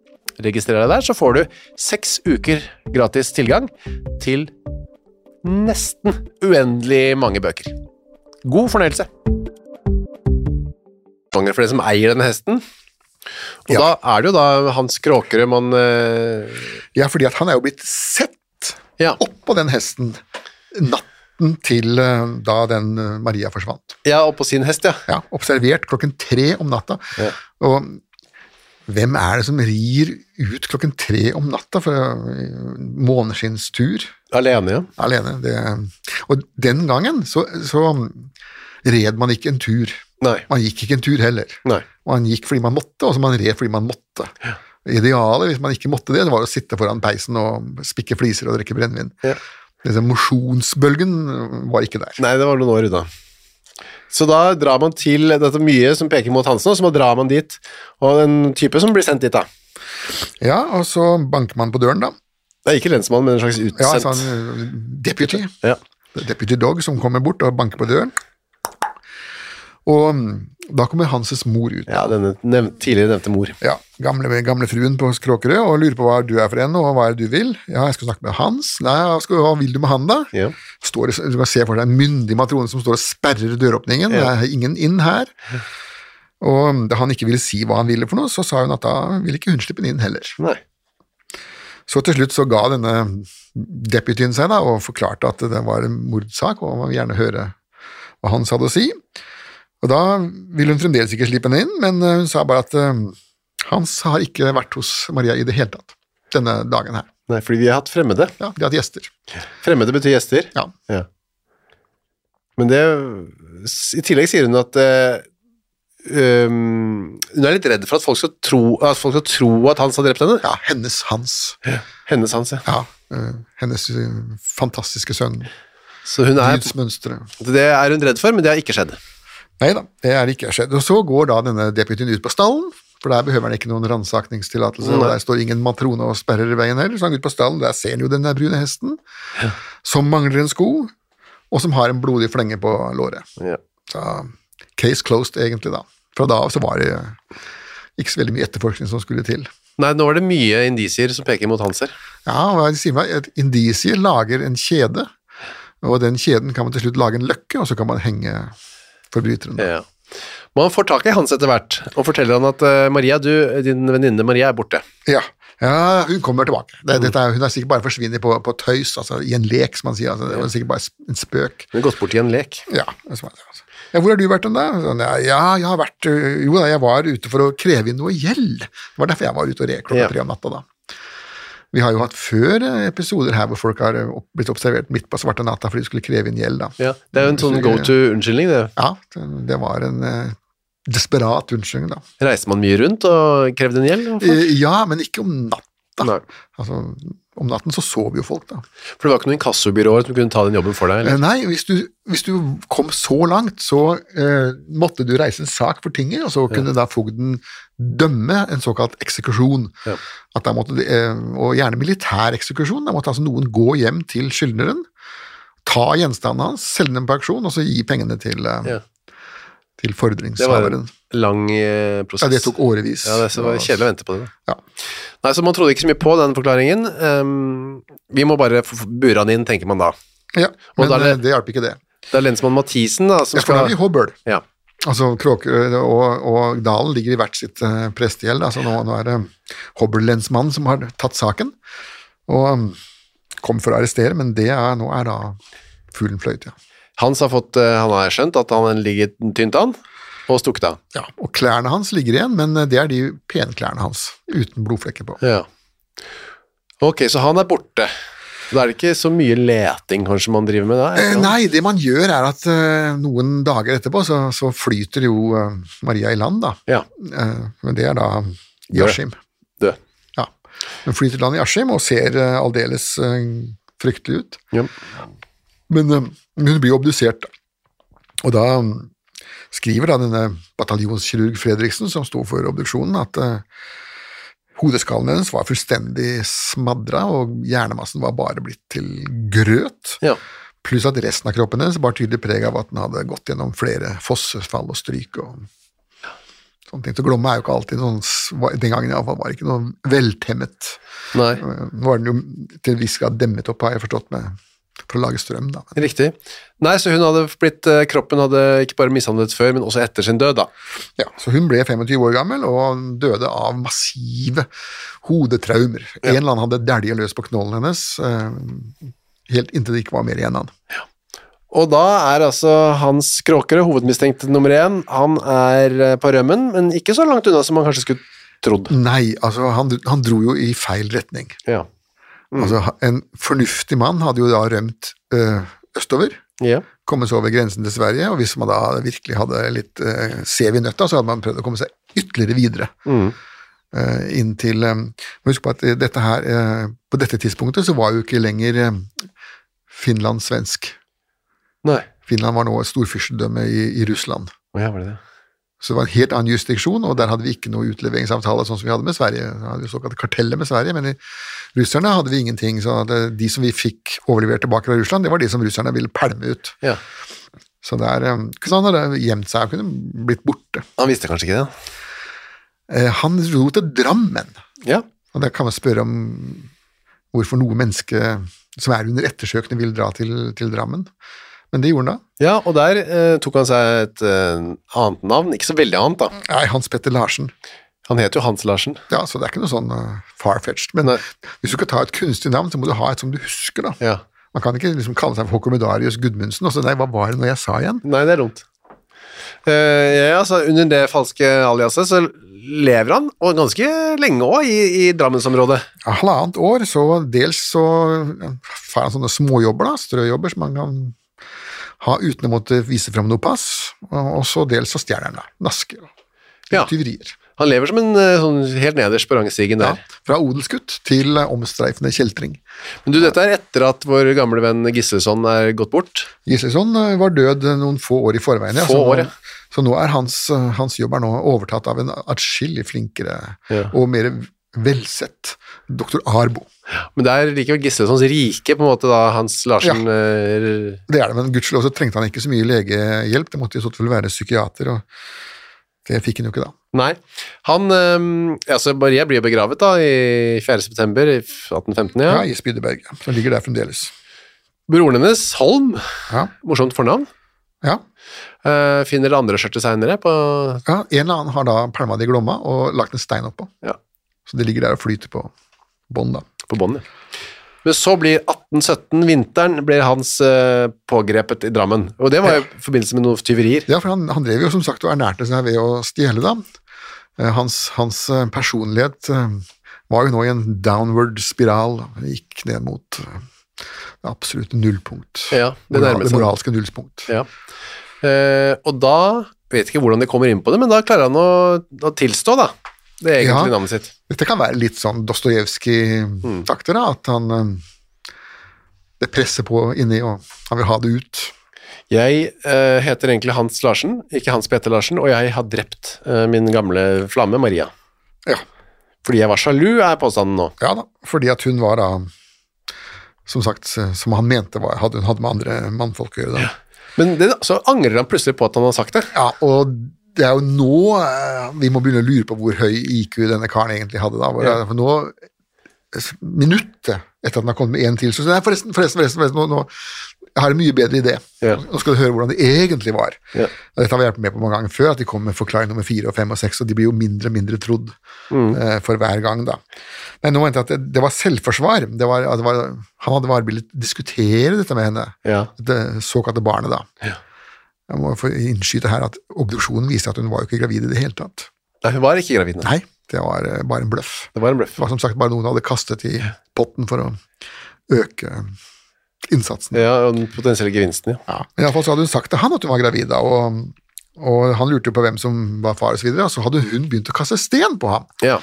Registrer deg der, så får du seks uker gratis tilgang til nesten uendelig mange bøker. God fornøyelse! Ganger for den som eier denne hesten. Og da er det jo da Hans Kråkerød man eh,
Ja, fordi at han er jo blitt sett
ja.
oppå den hesten natten til eh, da den eh, Maria forsvant.
ja, oppå sin hest, ja.
Ja, observert klokken tre om natta.
Ja.
Og hvem er det som rir ut klokken tre om natta for eh, måneskinnstur?
Alene, ja.
alene. Det, og den gangen så, så red man ikke en tur.
Nei.
Man gikk ikke en tur heller.
Nei.
Man gikk fordi man måtte, og så man red fordi man måtte. Idealet, hvis man ikke måtte det, det var å sitte foran peisen og spikke fliser og drikke brennevin.
Ja.
Liksom, mosjonsbølgen øh, var ikke der.
Nei, det var noen år unna. Så da drar man til dette er mye som peker mot Hansen, og så drar man dit, og en type som blir sendt dit da.
Ja, og så banker man på døren, da.
Det er ikke lensmann, men en slags utsendt.
Ja, sånn eh, deputy.
Ja.
Det er Deputy Dog som kommer bort og banker på døren. Og mm, da kommer Hanses mor ut.
Ja, denne nev tidligere nevnte mor.
Ja, gamle, gamle fruen på Kråkerø og lurer på hva du er for en, og hva er det du vil. Ja, jeg skal snakke med Hans. Nei, hva skal- hva vil du med han, da?
Ja.
Står, du kan se for deg en myndig matrone som står og sperrer døråpningen. Det er ingen inn her. Og da han ikke ville si hva han ville for noe, så sa hun at da ville ikke hun slippe han inn heller.
Nei.
Så til slutt så ga denne deputyen seg da, og forklarte at det var en mordsak, og man ville gjerne høre hva Hans hadde å si. Og da ville hun fremdeles ikke slippe henne inn, men eh, hun sa bare at eh, Hans har ikke vært hos Maria i det hele tatt denne dagen her.
Nei, fordi vi har hatt fremmede.
Ja, De hadde gjester.
Fremmede betyr gjester.
Ja.
Ja. Men det I tillegg sier hun at eh, øhm, Hun er litt redd for at folk skal tro at, folk skal tro at Hans har drept henne.
Ja, hennes Hans.
Hennes Hans, ja.
Ja, eh, hennes eh, fantastiske sønn.
Så hun er,
Guds mønstre.
det er hun redd for, men det har ikke skjedd.
Nei da, det er ikke skjedd. Og så går da denne deputyen ut på stallen, for der behøver han ikke noen ransakningstillatelse, og der står ingen matrone og sperrer veien heller, så han går ut på stallen, der ser han jo den der brune hesten, som mangler en sko, og som har en blodig flenge på låret.
Ja.
Så case closed, egentlig, da. Fra da av så var det ikke så veldig mye etterforskning som skulle til.
Nei, nå er det mye indisier som peker mot Hans her.
Ja, hva er det de sier meg? Et indisier lager en kjede, og den kjeden kan man til slutt lage en løkke, og så kan man henge forbryteren. da.
Ja. Man får tak i Hans etter hvert, og forteller han at eh, Maria, du, din venninne Maria er borte.
Ja. ja, hun kommer tilbake. Det,
Mm.
dette er, hun er sikkert bare forsvunnet på, på tøys, altså i en lek, som man sier. Altså, det var sikkert bare sp- en spøk.
Hun har gått bort i en lek.
Ja, som man sier, altså. ja, hvor har du vært den da? Sånn, ja, ja, jeg har vært øh, Jo da, jeg var ute for å kreve inn noe gjeld. Det var derfor jeg var ute og red klokka
Ja.
tre om natta, da. Vi har jo hatt før eh, episoder her hvor folk har eh, opp- blitt observert midt på svarte natta fordi de skulle kreve inn gjeld, da.
Ja. Det er jo en sånn go to-unnskyldning, det.
Ja, det, det var en eh, desperat unnskyldning, da.
Reiste man mye rundt og krevde en gjeld? og folk-
Eh, ja, men ikke om natta.
Nei.
Altså, om natten så sover jo folk, da.
For det var ikke noe inkassobyråer som kunne ta den jobben for deg?
Eh,
Eller?
Nei, hvis du, hvis du kom så langt, så eh, måtte du reise en sak for tinget, og så kunne da fogden dømme en såkalt eksekusjon. At da måtte, de- eh, og gjerne militær eksekusjon. Da måtte altså noen gå hjem til skyldneren, ta gjenstanden hans, selge den på auksjon, og så gi pengene til, eh,
Ja.
til
Det var en
fordringshaveren.
lang eh, prosess.
Ja, det tok årevis.
Ja, det så var det kjedelig å vente på det. da.
Ja.
Nei, så man trodde ikke så mye på den forklaringen. Ehm, vi må bare f- f- bure han inn, tenker man da.
Ja,
Og
men
da er det-
eh, det hjalp ikke det.
Det er lensmann Mathisen da, som
Ja, for da er vi i
skal...
Hobøl.
Ja,
Altså, Kråkerø og, og Dalen ligger i hvert sitt eh, prestegjeld. Altså, nå, nå er det Hobbel-lensmannen som har tatt saken, og um, kom for å arrestere, men det er, nå er da fuglen fløyt, ja.
Hans har fått, eh, han har skjønt at han ligger tynt an, og stukket av.
ja. Og klærne hans ligger igjen, men eh, det er de penklærne hans, uten blodflekker på.
Ja. Ok, så han er borte. Da er det ikke så mye leting kanskje man driver med da?
Eh, nei, det man gjør er at eh, noen dager etterpå så, så flyter jo eh, Maria i land, da.
Ja,
Eh, men det er da Yashim.
død.
Ja. Hun flyter til land i Askim og ser eh, aldeles eh, fryktelig ut.
Ja.
Men eh, hun blir jo obdusert, da. og da mm, skriver da denne bataljonskirurg Fredriksen, som sto for obduksjonen, at eh, hodeskallen hennes var fullstendig smadra, og hjernemassen var bare blitt til grøt.
Ja.
Pluss at resten av kroppen hennes bar tydelig preg av at den hadde gått gjennom flere fossefall og stryk og sånne ting. Så Glomma er jo ikke alltid noen s- var- Den gangen iallfall var det ikke noe veltemmet.
Nei,
Eh, Nå var den jo til en viss grad demmet opp, har jeg forstått, med, for å lage strøm, da. Men
riktig. Nei, så hun hadde blitt, eh, kroppen hadde ikke bare mishandlet før, men også etter sin død da.
Ja, så hun ble 25 år gammel og døde av massive hodetraumer. En eller annen hadde dælja løs på knollen hennes, eh, helt inntil det ikke var mer igjen av den.
Og da er altså Hans Kråkerød, hovedmistenkt nummer én, han er eh, på rømmen, men ikke så langt unna som man kanskje skulle trodd.
Nei, altså, han, han dro jo i feil retning.
Ja.
Altså, ha- en fornuftig mann hadde jo da rømt eh, østover,
Ja.
kommet seg over grensen til Sverige, og hvis man da virkelig hadde litt eh, sev i nøtta, så hadde man prøvd å komme seg ytterligere videre.
Mm.
Eh, inn til eh, Husk på at eh, dette her, eh, på dette tidspunktet så var jo ikke lenger eh, Finland svensk.
Nei.
Finland var nå et storfyrstedømme i, i Russland.
Å ja, var det det?
Så det var en helt annen jurisdiksjon, og der hadde vi ikke noe utleveringsavtale sånn som vi hadde med Sverige. Vi hadde jo såkalte karteller med Sverige, men i russerne hadde vi ingenting. Så det, de som vi fikk overlevert tilbake fra Russland, det var de som russerne ville pælme ut.
Ja.
Så der eh, kunne han ha gjemt seg, han kunne blitt borte.
Han visste kanskje ikke det?
Eh, Han dro til Drammen,
Ja.
og der kan man spørre om hvorfor noe menneske som er under ettersøkende vil dra til, til Drammen. Men det gjorde han da.
ja, og der eh, tok han seg et eh, annet navn. Ikke så veldig annet, da.
Nei, Hans Petter Larsen.
Han het jo Hans Larsen.
Ja, så det er ikke noe sånn uh, far-fetched. Men
Nei.
hvis du skal ta et kunstig navn, så må du ha et som du husker, da.
Ja.
Man kan ikke liksom kalle seg for Hokomedarius Gudmundsen, og så nei, hva var det nå jeg sa igjen?
Nei, det er dumt. Eh, ja, altså, under det falske aliaset så lever han, og ganske lenge òg, i, i Drammensområdet.
Ja, halvannet år, så dels så får han sånne småjobber, da, strøjobber som man kan ha uten å måtte vise fram noe pass, og og så dels så stjeler han da, nasker og
Ja.
tyverier.
Han lever som en eh, sånn helt nederst på rangstigen
Ja,
der.
fra odelsgutt til eh, omstreifende kjeltring.
Men du, dette er etter at vår gamle venn Gisleson er gått bort.
Gislason sånn, eh, var død noen få år i forveien. ja,
Få
så, nå-
år, ja.
så nå er hans, eh, hans jobb er nå overtatt av en atskillig flinkere
Ja.
og mer velsett doktor Arbo.
Men det er likevel Gislesons rike, på en måte, da Hans Larsen eh,
Det er det, men gudskjelov så trengte han ikke så mye legehjelp. Det måtte i så tilfelle være psykiater, og det fikk han jo ikke da.
Nei. Han eh, Altså, Maria blir begravet, da, i 4. september i 1815, ja.
Ja, I Spydeberg, ja, som ligger der fremdeles.
Broren hennes, Holm,
Ja,
morsomt fornavn,
ja.
eh, finner det andre skjørtet seinere på
ja En eller annen har da pælma det i Glomma og lagt en stein oppå,
Ja.
så det ligger der og flyter på bånn, da.
på båndet. Men så blir 1817, vinteren, blir hans eh, pågrepet i Drammen. Og det var jo i forbindelse med noen tyverier.
Ja, for han, han drev jo som sagt og ernærte seg ved å stjele, da. Eh, Hans, hans eh, personlighet eh, var jo nå i en downward spiral. Han gikk ned mot eh, det absolutte nullpunkt.
Ja, det
Moral,
nærmer
det
seg.
moralske nullpunkt.
Ja. Eh, og da vet ikke hvordan de kommer inn på det, men da klarer han å, å tilstå, da. Det er egentlig
Ja.
navnet sitt.
Dette kan være litt
Mm.
sånn Dostojevskij-takter, da, at han eh, det presser på inni, og han vil ha det ut.
Jeg eh, heter egentlig Hans Larsen, ikke Hans Peter Larsen, og jeg har drept eh, min gamle flamme Maria.
Ja.
Fordi jeg var sjalu, er påstanden nå.
ja da, fordi at hun var da Som sagt, eh, som han mente var, hadde hun hadde med andre mannfolk å gjøre. da.
Men det, så angrer han plutselig på at han har sagt det.
Ja, og det er jo nå eh, vi må begynne å lure på hvor høy IQ denne karen egentlig hadde da. Hvor,
Ja.
For nå, s- minuttet etter at han har kommet med en til, så sier han, nei, forresten, forresten, forresten, forresten nå, nå, jeg har en mye bedre idé.
Ja.
Nå skal du høre hvordan det egentlig var.
Ja.
Og Dette har vi hjulpet med på mange ganger før, at de kommer med forklaring nummer fire og fem og seks, og de blir jo mindre og mindre trodd
Mm.
eh, for hver gang da. Men nå mente jeg at det, det var selvforsvar. Det var, at det var, han hadde bare villet diskutere dette med henne
Ja.
det såkalte barnet, da. Jeg må få innskyte her at obduksjonen viste at hun var jo ikke gravid i det hele tatt.
Nei, hun var ikke gravid. nei.
Nei, det var eh, bare en bløff.
Det var en bløff.
Det var som sagt bare noen hadde kastet i potten for å øke innsatsen.
Ja, og den potensielle gevinsten, ja.
Ja. Men iallfall så hadde hun sagt til han at hun var gravid, da, og, og han lurte jo på hvem som var far, og så videre, og så hadde hun begynt å kaste sten på ham.
ja.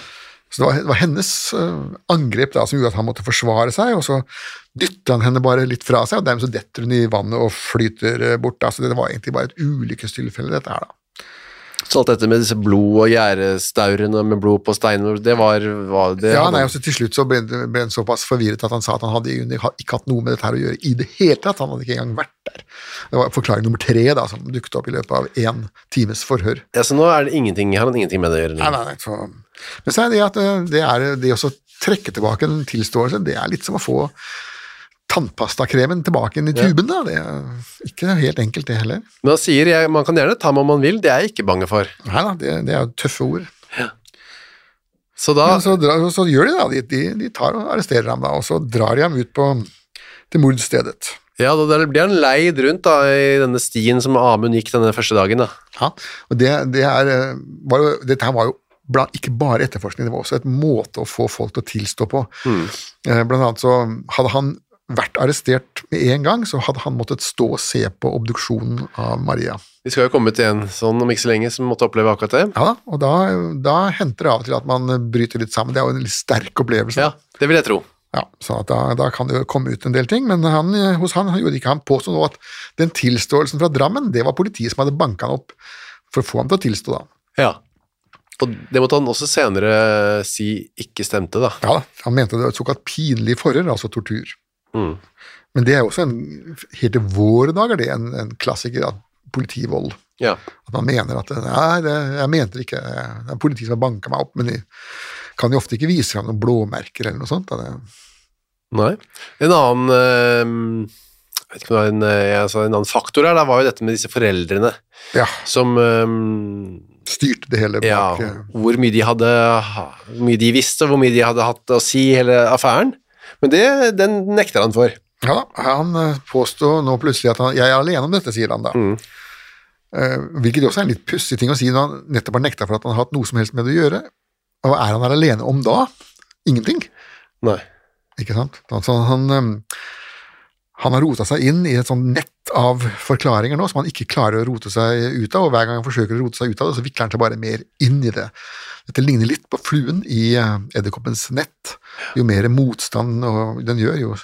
Så det var, det var hennes eh, angrep da, som gjorde at han måtte forsvare seg, og så dytter han henne bare litt fra seg, og dermed så detter hun i vannet og flyter eh, bort. Da. Så det var egentlig bare et ulykkestilfelle, dette her, da.
Så alt dette med disse blod- og gjerdestaurene med blod på steiner, det var, var det
ja,
hadde-
nei, altså- og så Til slutt så ble, ble han såpass forvirret at han sa at han hadde ikke ikke hatt noe med dette her å gjøre i det hele tatt. Han hadde ikke engang vært der. Det var forklaring nummer tre da, som dukket opp i løpet av én times forhør.
Ja, så nå er det ingenting, har han ingenting med det å gjøre.
Nei, nei, nei, så. Men så er det at eh, det, er, det å så trekke tilbake en tilståelse, det er litt som å få tannpastakremen tilbake inn i tuben. da. Det er ikke helt enkelt, det heller.
Men han sier jeg, man kan gjerne ta meg om man vil, det er jeg ikke bange for.
Nei da, det, det er jo tøffe ord.
Så da
Men så, drar, så gjør de da, de, de, de tar og arresterer ham da, og så drar de ham ut på, til mordstedet.
Ja, da der blir han leid rundt da, i denne stien som Amund gikk denne første dagen. da.
Ja, og det, det er, eh, var jo, dette her var jo bla, ikke bare etterforskning, det var også et måte å få folk til å tilstå på. Eh, Blant annet så hadde han vært arrestert med en gang, så hadde han måttet stå og se på obduksjonen av Maria.
Vi skal jo komme til en sånn om ikke så lenge som måtte oppleve akkurat det.
Ja da, og da, da henter det av og til at man bryter litt sammen. Det er jo en litt sterk opplevelse.
Ja, det vil jeg tro.
Ja, så at da, da kan det jo komme ut en del ting, men han, eh, hos han han gjorde ikke han påstå nå at den tilståelsen fra Drammen, det var politiet som hadde banka han opp for å få ham til å tilstå, da.
Ja. Og det måtte han også senere si ikke stemte, da.
Ja da, han mente det var et såkalt pinlig forhør, altså tortur. Men det er jo også en, helt i våre dager, det er en, en klassiker av politivold.
Ja.
At man mener at Nei, det, jeg mente det ikke. Det er politiet som har banka meg opp, men de kan jo ofte ikke vise fram noen blåmerker eller noe sånt. da Det,
Nei. En annen eh, jeg vet ikke om det var en, eh, jeg sa en annen faktor her, da var jo dette med disse foreldrene
ja,
som eh,
styrte det hele
Ja,
bak eh,
hvor mye de hadde hvor mye de visste, og hvor mye de hadde hatt å si i hele affæren. Men det, den nekter han for.
Ja da, han eh, påstår nå plutselig at han, jeg er alene om dette, sier han da. Eh, hvilket også er en litt pussig ting å si når han nettopp har nekta for at han har hatt noe som helst med det å gjøre. Og hva er han her alene om da? Ingenting.
Nei.
Ikke sant? Altså, han, ehm, han har rota seg inn i et sånt nett av forklaringer nå som han ikke klarer å rote seg ut av, og hver gang han forsøker å rote seg ut av det, så vikler han seg bare mer inn i det. Dette ligner litt på fluen i eh, edderkoppens nett. Jo mer motstand og den gjør, jo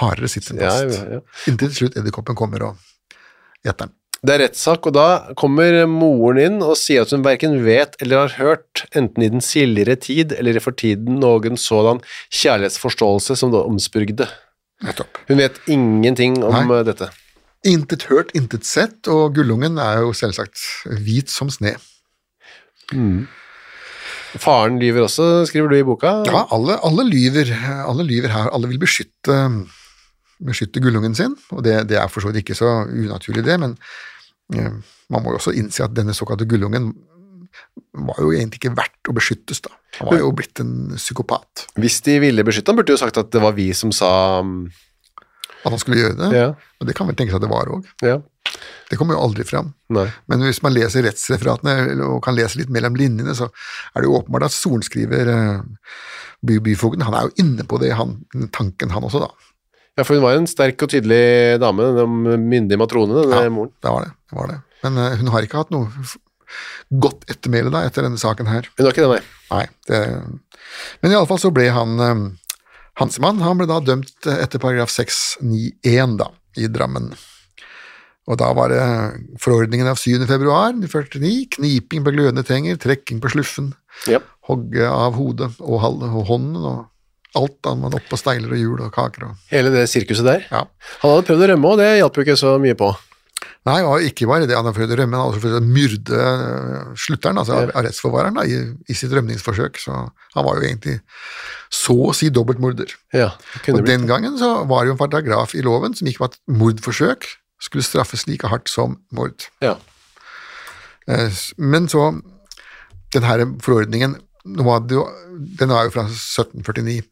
hardere sitter den
Ja,
fast.
ja, ja.
Inntil til slutt edderkoppen kommer og gjeter den.
Det er rettssak, og da kommer moren inn og sier at hun verken vet eller har hørt, enten i den sildere tid eller for tiden noen sådan kjærlighetsforståelse som det omspurgde.
Nettopp.
Hun vet ingenting om
Nei.
eh, dette.
Intet hørt, intet sett, og gullungen er jo selvsagt hvit som sne.
Faren lyver også, skriver du i boka.
Ja, alle, alle, lyver, alle lyver her. Alle vil beskytte, beskytte gullungen sin, og det, det er for så vidt ikke så unaturlig, det, men eh, man må jo også innse at denne såkalte gullungen var jo egentlig ikke verdt å beskyttes, da. Han var jo blitt en psykopat.
Hvis de ville beskytte ham, burde de jo sagt at det var vi som sa mm,
At han skulle gjøre det,
Ja.
og det kan vel tenkes at det var òg.
Ja.
Det kommer jo aldri fram.
Nei.
Men hvis man leser rettsreferatene eller- og kan lese litt mellom linjene, så er det jo åpenbart at sorenskriver eh, by, byfogden, han er jo inne på det, han, tanken han også, da.
Ja, for hun var en sterk og tydelig dame, den myndige matrone, denne eh, moren.
Det var det. det, var det. Men eh, hun har ikke hatt noe f- godt ettermæle da, etter denne saken her.
Hun var ikke det, nei.
Nei, det... Men iallfall så ble han eh, Hansemann han ble da dømt eh, etter paragraf 691 da, i Drammen. Og da var det forordningen av 7. februar 1949. Kniping på glødende tenger, trekking på sluffen,
Ja.
hogge av hodet og, hal- og hånden og alt da man oppå steiler og hjul og kaker og
Hele det sirkuset der.
Ja.
Han hadde prøvd å rømme, og det hjalp jo ikke så mye på.
Nei, og ikke bare det, han har prøvd å rømme, han har også prøvd å myrde øh, slutteren, altså
Ja.
arrestforvareren, da, i, i sitt rømningsforsøk. Så han var jo egentlig så å si dobbeltmorder.
Ja, det kunne
Og
blitt.
den gangen så var det jo en paragraf i loven som gikk på at mordforsøk skulle straffes like hardt som mord.
Ja.
Eh, s- Men så den her forordningen nå var det jo, den var jo fra 1749.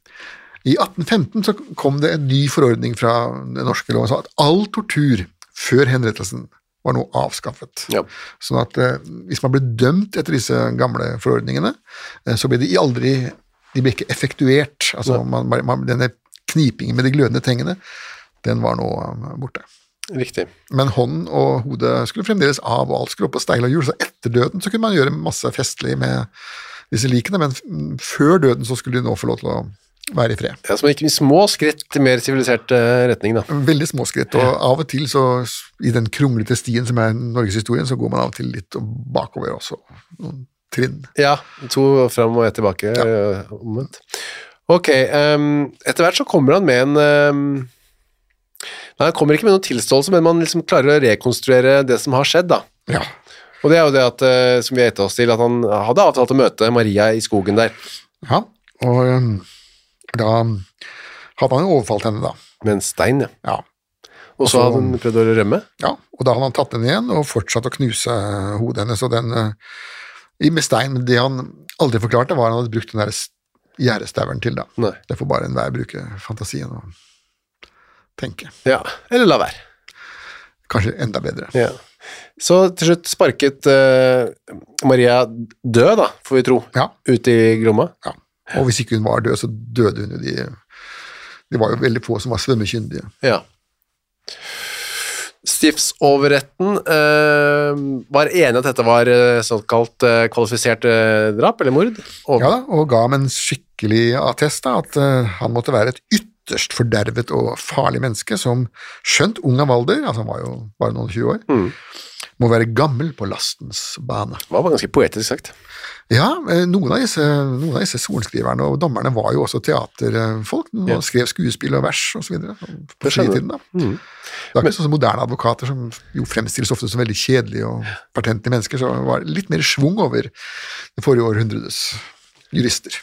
I 1815 så kom det en ny forordning fra den norske loven som sa at all tortur før henrettelsen var nå avskaffet.
Ja.
Sånn at eh, hvis man ble dømt etter disse gamle forordningene, eh, så ble de aldri de ble ikke effektuert. Altså, man, man, denne knipingen med de glødende tengene, den var nå eh, borte.
Riktig.
Men hånden og hodet skulle fremdeles av, og alt skulle opp på steil og hjul. Så etter døden så kunne man gjøre masse festlig med disse likene, men f- mm, før døden så skulle de nå få lov til å være i fred.
Ja, så man gikk i små skritt til mer sivilisert eh, retning, da.
Veldig små skritt, og av og til så s- i den kronglete stien som er norgeshistorien, så går man av og til litt bakover også. Noen trinn.
Ja, to fram og ett tilbake, eh, omvendt. Ok, ehm, etter hvert så kommer han med en ehm, Nei, han kommer ikke med noen tilståelse, men man liksom klarer å rekonstruere det som har skjedd, da.
Ja.
Og det er jo det at, eh, som vi har gitt oss til, at han hadde avtalt å møte Maria i skogen der,
Ja, og øhm, da hadde han jo overfalt henne, da.
med en stein, ja.
Ja.
Og så hadde han prøvd å rømme.
ja. Og da hadde han tatt henne igjen og fortsatt å knuse eh, hodet hennes, og den øh, i- med stein men Det han aldri forklarte, var at han hadde brukt den der s- gjerdestauren til, da.
Nei.
Det får bare enhver bruke fantasien og tenke.
Ja, eller la være.
Kanskje enda bedre.
Ja. Så til slutt sparket eh, Maria død, da, får vi tro,
Ja.
ut i Glomma.
Ja. Og hvis ikke hun var død, så døde hun jo de Det var jo veldig få som var svømmekyndige.
Ja. Stiftsoverretten eh, var enig at dette var eh, såkalt eh, kvalifisert eh, drap eller mord. Og,
Ja da, Og ga ham en skikkelig attest, da, at eh, han måtte være et ytterst fordervet og farlig menneske som, skjønt ung av alder, altså han var jo bare noen 20 år,
Mm.
må være gammel på lastens bane.
Det var ganske poetisk sagt.
Ja, eh, noen av, disse, noen av disse sorenskriverne og dommerne var jo også teaterfolk. De
Ja.
skrev skuespill og vers osv. på
Det skjønner jeg. Mm.
fritiden. Da. Det var ikke sånn som moderne advokater, som jo fremstilles ofte som veldig kjedelige og patentlige mennesker, så var det litt mer schwung over det forrige århundredes jurister.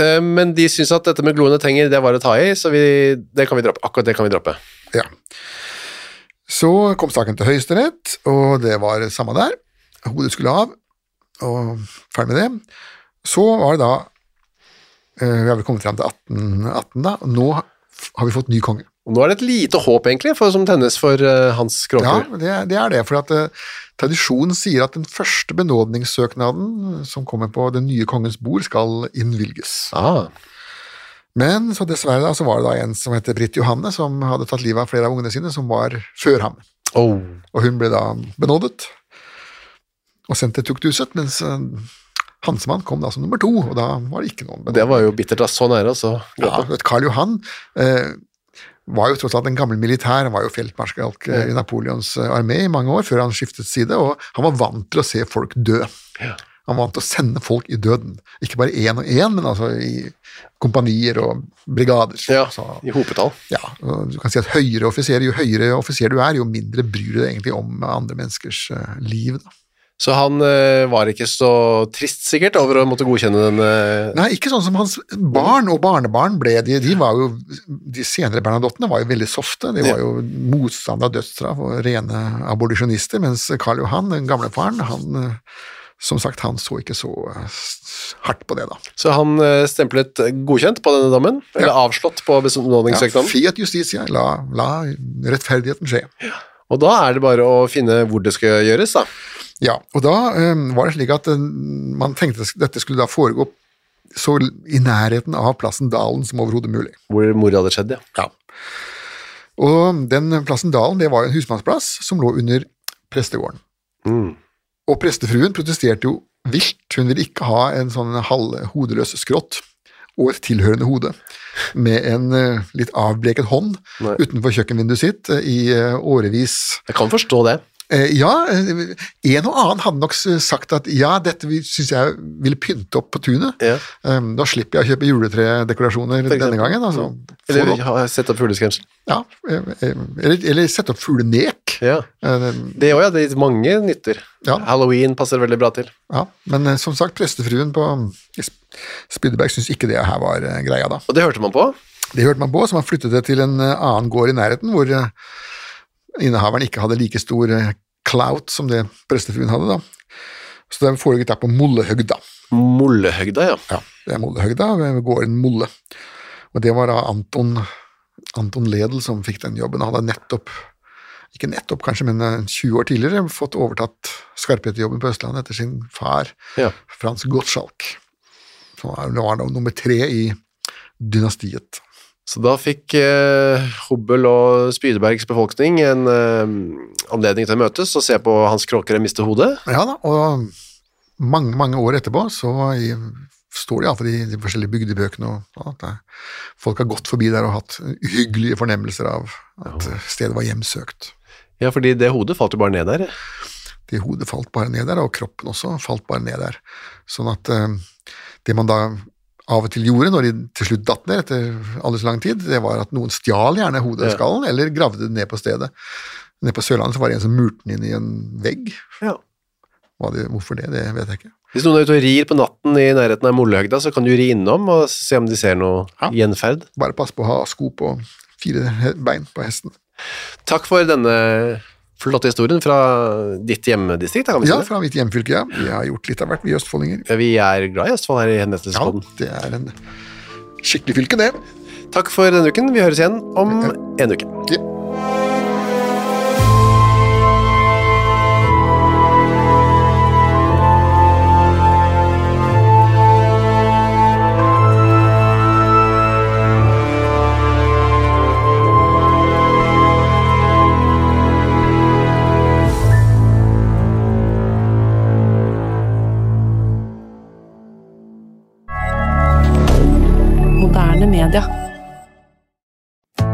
Eh, men de syns at dette med gloende tenger, det var å ta i, så vi, det kan vi droppe. Akkurat det kan vi droppe.
Ja. Så kom saken til Høyesterett, og det var samme der. Hodet skulle av, og ferdig med det. Så var det da eh, Vi har vel kommet fram til 1818, da. og Nå har vi fått ny konge.
Og nå er det et lite håp, egentlig, for, som tennes for eh, hans
Ja,
kråker.
det, det er det. For at eh, tradisjonen sier at den første benådningssøknaden som kommer på den nye kongens bord, skal innvilges.
Ah,
Men så dessverre da, så var det da en som heter Britt Johanne, som hadde tatt livet av flere av ungene sine, som var før ham.
oh.
Og hun ble da benådet og sendt til tukthuset, mens eh, Hansemann kom da som nummer to, og da var det ikke noen
Det var jo bittert, da. Så nære, altså. og så
Ja,
gråte.
du vet, Karl Johan eh, var jo tross alt en gammel militær, han var jo feltmarskalk eh, i Napoleons eh, armé i mange år før han skiftet side, og han var vant til å se folk dø. Han var vant til å sende folk i døden, ikke bare én og én, men altså i kompanier og brigader.
Ja,
Så-
i hopetall.
ja, og du kan si at høyere offiser, Jo høyere offiser du er, jo mindre bryr du deg egentlig om andre menneskers eh, liv. Da.
Så han eh, var ikke så trist, sikkert, over å måtte godkjenne den eh,
Nei, ikke sånn som hans barn og barnebarn ble. De, de, var jo, de senere Bernadottene var jo veldig softe. De var jo motstander av dødsstraff og rene aboliksjonister, mens Karl Johan, den gamle faren, han eh, som sagt, han så ikke så eh, s- hardt på det, da.
Så han eh, stemplet godkjent på denne dommen, eller avslått på
Ja,
benådningssøknaden.
Fiat justitia, la, la rettferdigheten skje.
og da er det bare å finne hvor det skal gjøres, da.
Ja, og da eh, var det slik at eh, man tenkte at dette skulle da foregå så l- i nærheten av plassen Dalen som overhodet mulig.
Hvor mordet hadde skjedd, ja.
Og den plassen Dalen, det var jo en husmannsplass som lå under prestegården.
Mm.
Og prestefruen protesterte jo vilt, hun ville ikke ha en sånn halvhodeløs skrått og et tilhørende hode med en eh, litt avbleket hånd
Nei.
utenfor kjøkkenvinduet sitt eh, i eh, årevis.
Jeg kan forstå det.
Eh, Ja, eh, en og annen hadde nok s- sagt at ja, dette syns jeg ville pynte opp på tunet.
Ja.
Eh, Da slipper jeg å kjøpe juletredekorasjoner
For eksempel. Mm.
denne gangen. Altså, Få
Eller
det opp.
ha sett opp fugleskremsel.
ja, eh, eh, eller, eller sette opp fuglenek.
Ja.
Eh, det-
Det òg, ja. Det er mange nytter.
Ja.
Halloween passer veldig bra til.
Ja, men eh, som sagt, prestefruen på um, i Sp- Spydeberg syns ikke det her var eh, greia, da.
Og det hørte man på.
Det hørte man på, så man flyttet det til en eh, annen gård i nærheten, hvor eh, innehaveren ikke hadde like stor eh, clout som det prestefruen hadde, da. Så det foregikk da på Mollehøgda.
Mollehøgda, ja.
Ja, det er Mollehøgda, ved gården Molle. Og det var da Anton, Anton Ledel som fikk den jobben. Han hadde nettopp, ikke nettopp kanskje, men eh, 20 år tidligere fått overtatt skarphetsjobben på Østlandet etter sin far,
Ja.
Frans Gottschalk. Så han var da nummer tre i dynastiet.
Så da fikk eh, Hobbel og Spydebergs befolkning en eh, anledning til å møtes og se på Hans Kråkere miste hodet.
Ja da, og mange, mange år etterpå så i, står det iallfall i de forskjellige bygdebøkene og at det, folk har gått forbi der og hatt hyggelige fornemmelser av at eh, stedet var hjemsøkt.
Ja, fordi det hodet falt jo bare ned der.
det hodet falt bare ned der, og kroppen også falt bare ned der. Sånn at eh, det man da av og til gjorde når de til slutt datt ned etter aldri så lang tid, det var at noen stjal gjerne hodet og
Ja.
skallen, eller gravde det ned på stedet. Nede på Sørlandet så var det en som murte den inn i en vegg.
Ja.
Hva det, hvorfor det, det vet jeg ikke.
Hvis noen er ute og rir på natten i nærheten av Mollehøgda, så kan du ri innom og se om de ser noe
Ja.
gjenferd.
Bare pass på å ha sko på fire he- bein på hesten.
Takk for denne flotte historien fra ditt hjemmedistrikt, da, kan vi
Ja,
si det.
fra mitt hjemfylke, ja. Vi har gjort litt av hvert, vi østfoldinger.
Ja, Vi er glad i Østfold her i
Ja,
Hendelsespodden.
det er en skikkelig fylke, det.
Takk for denne uken. Vi høres igjen om en uke.
Ja.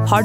Har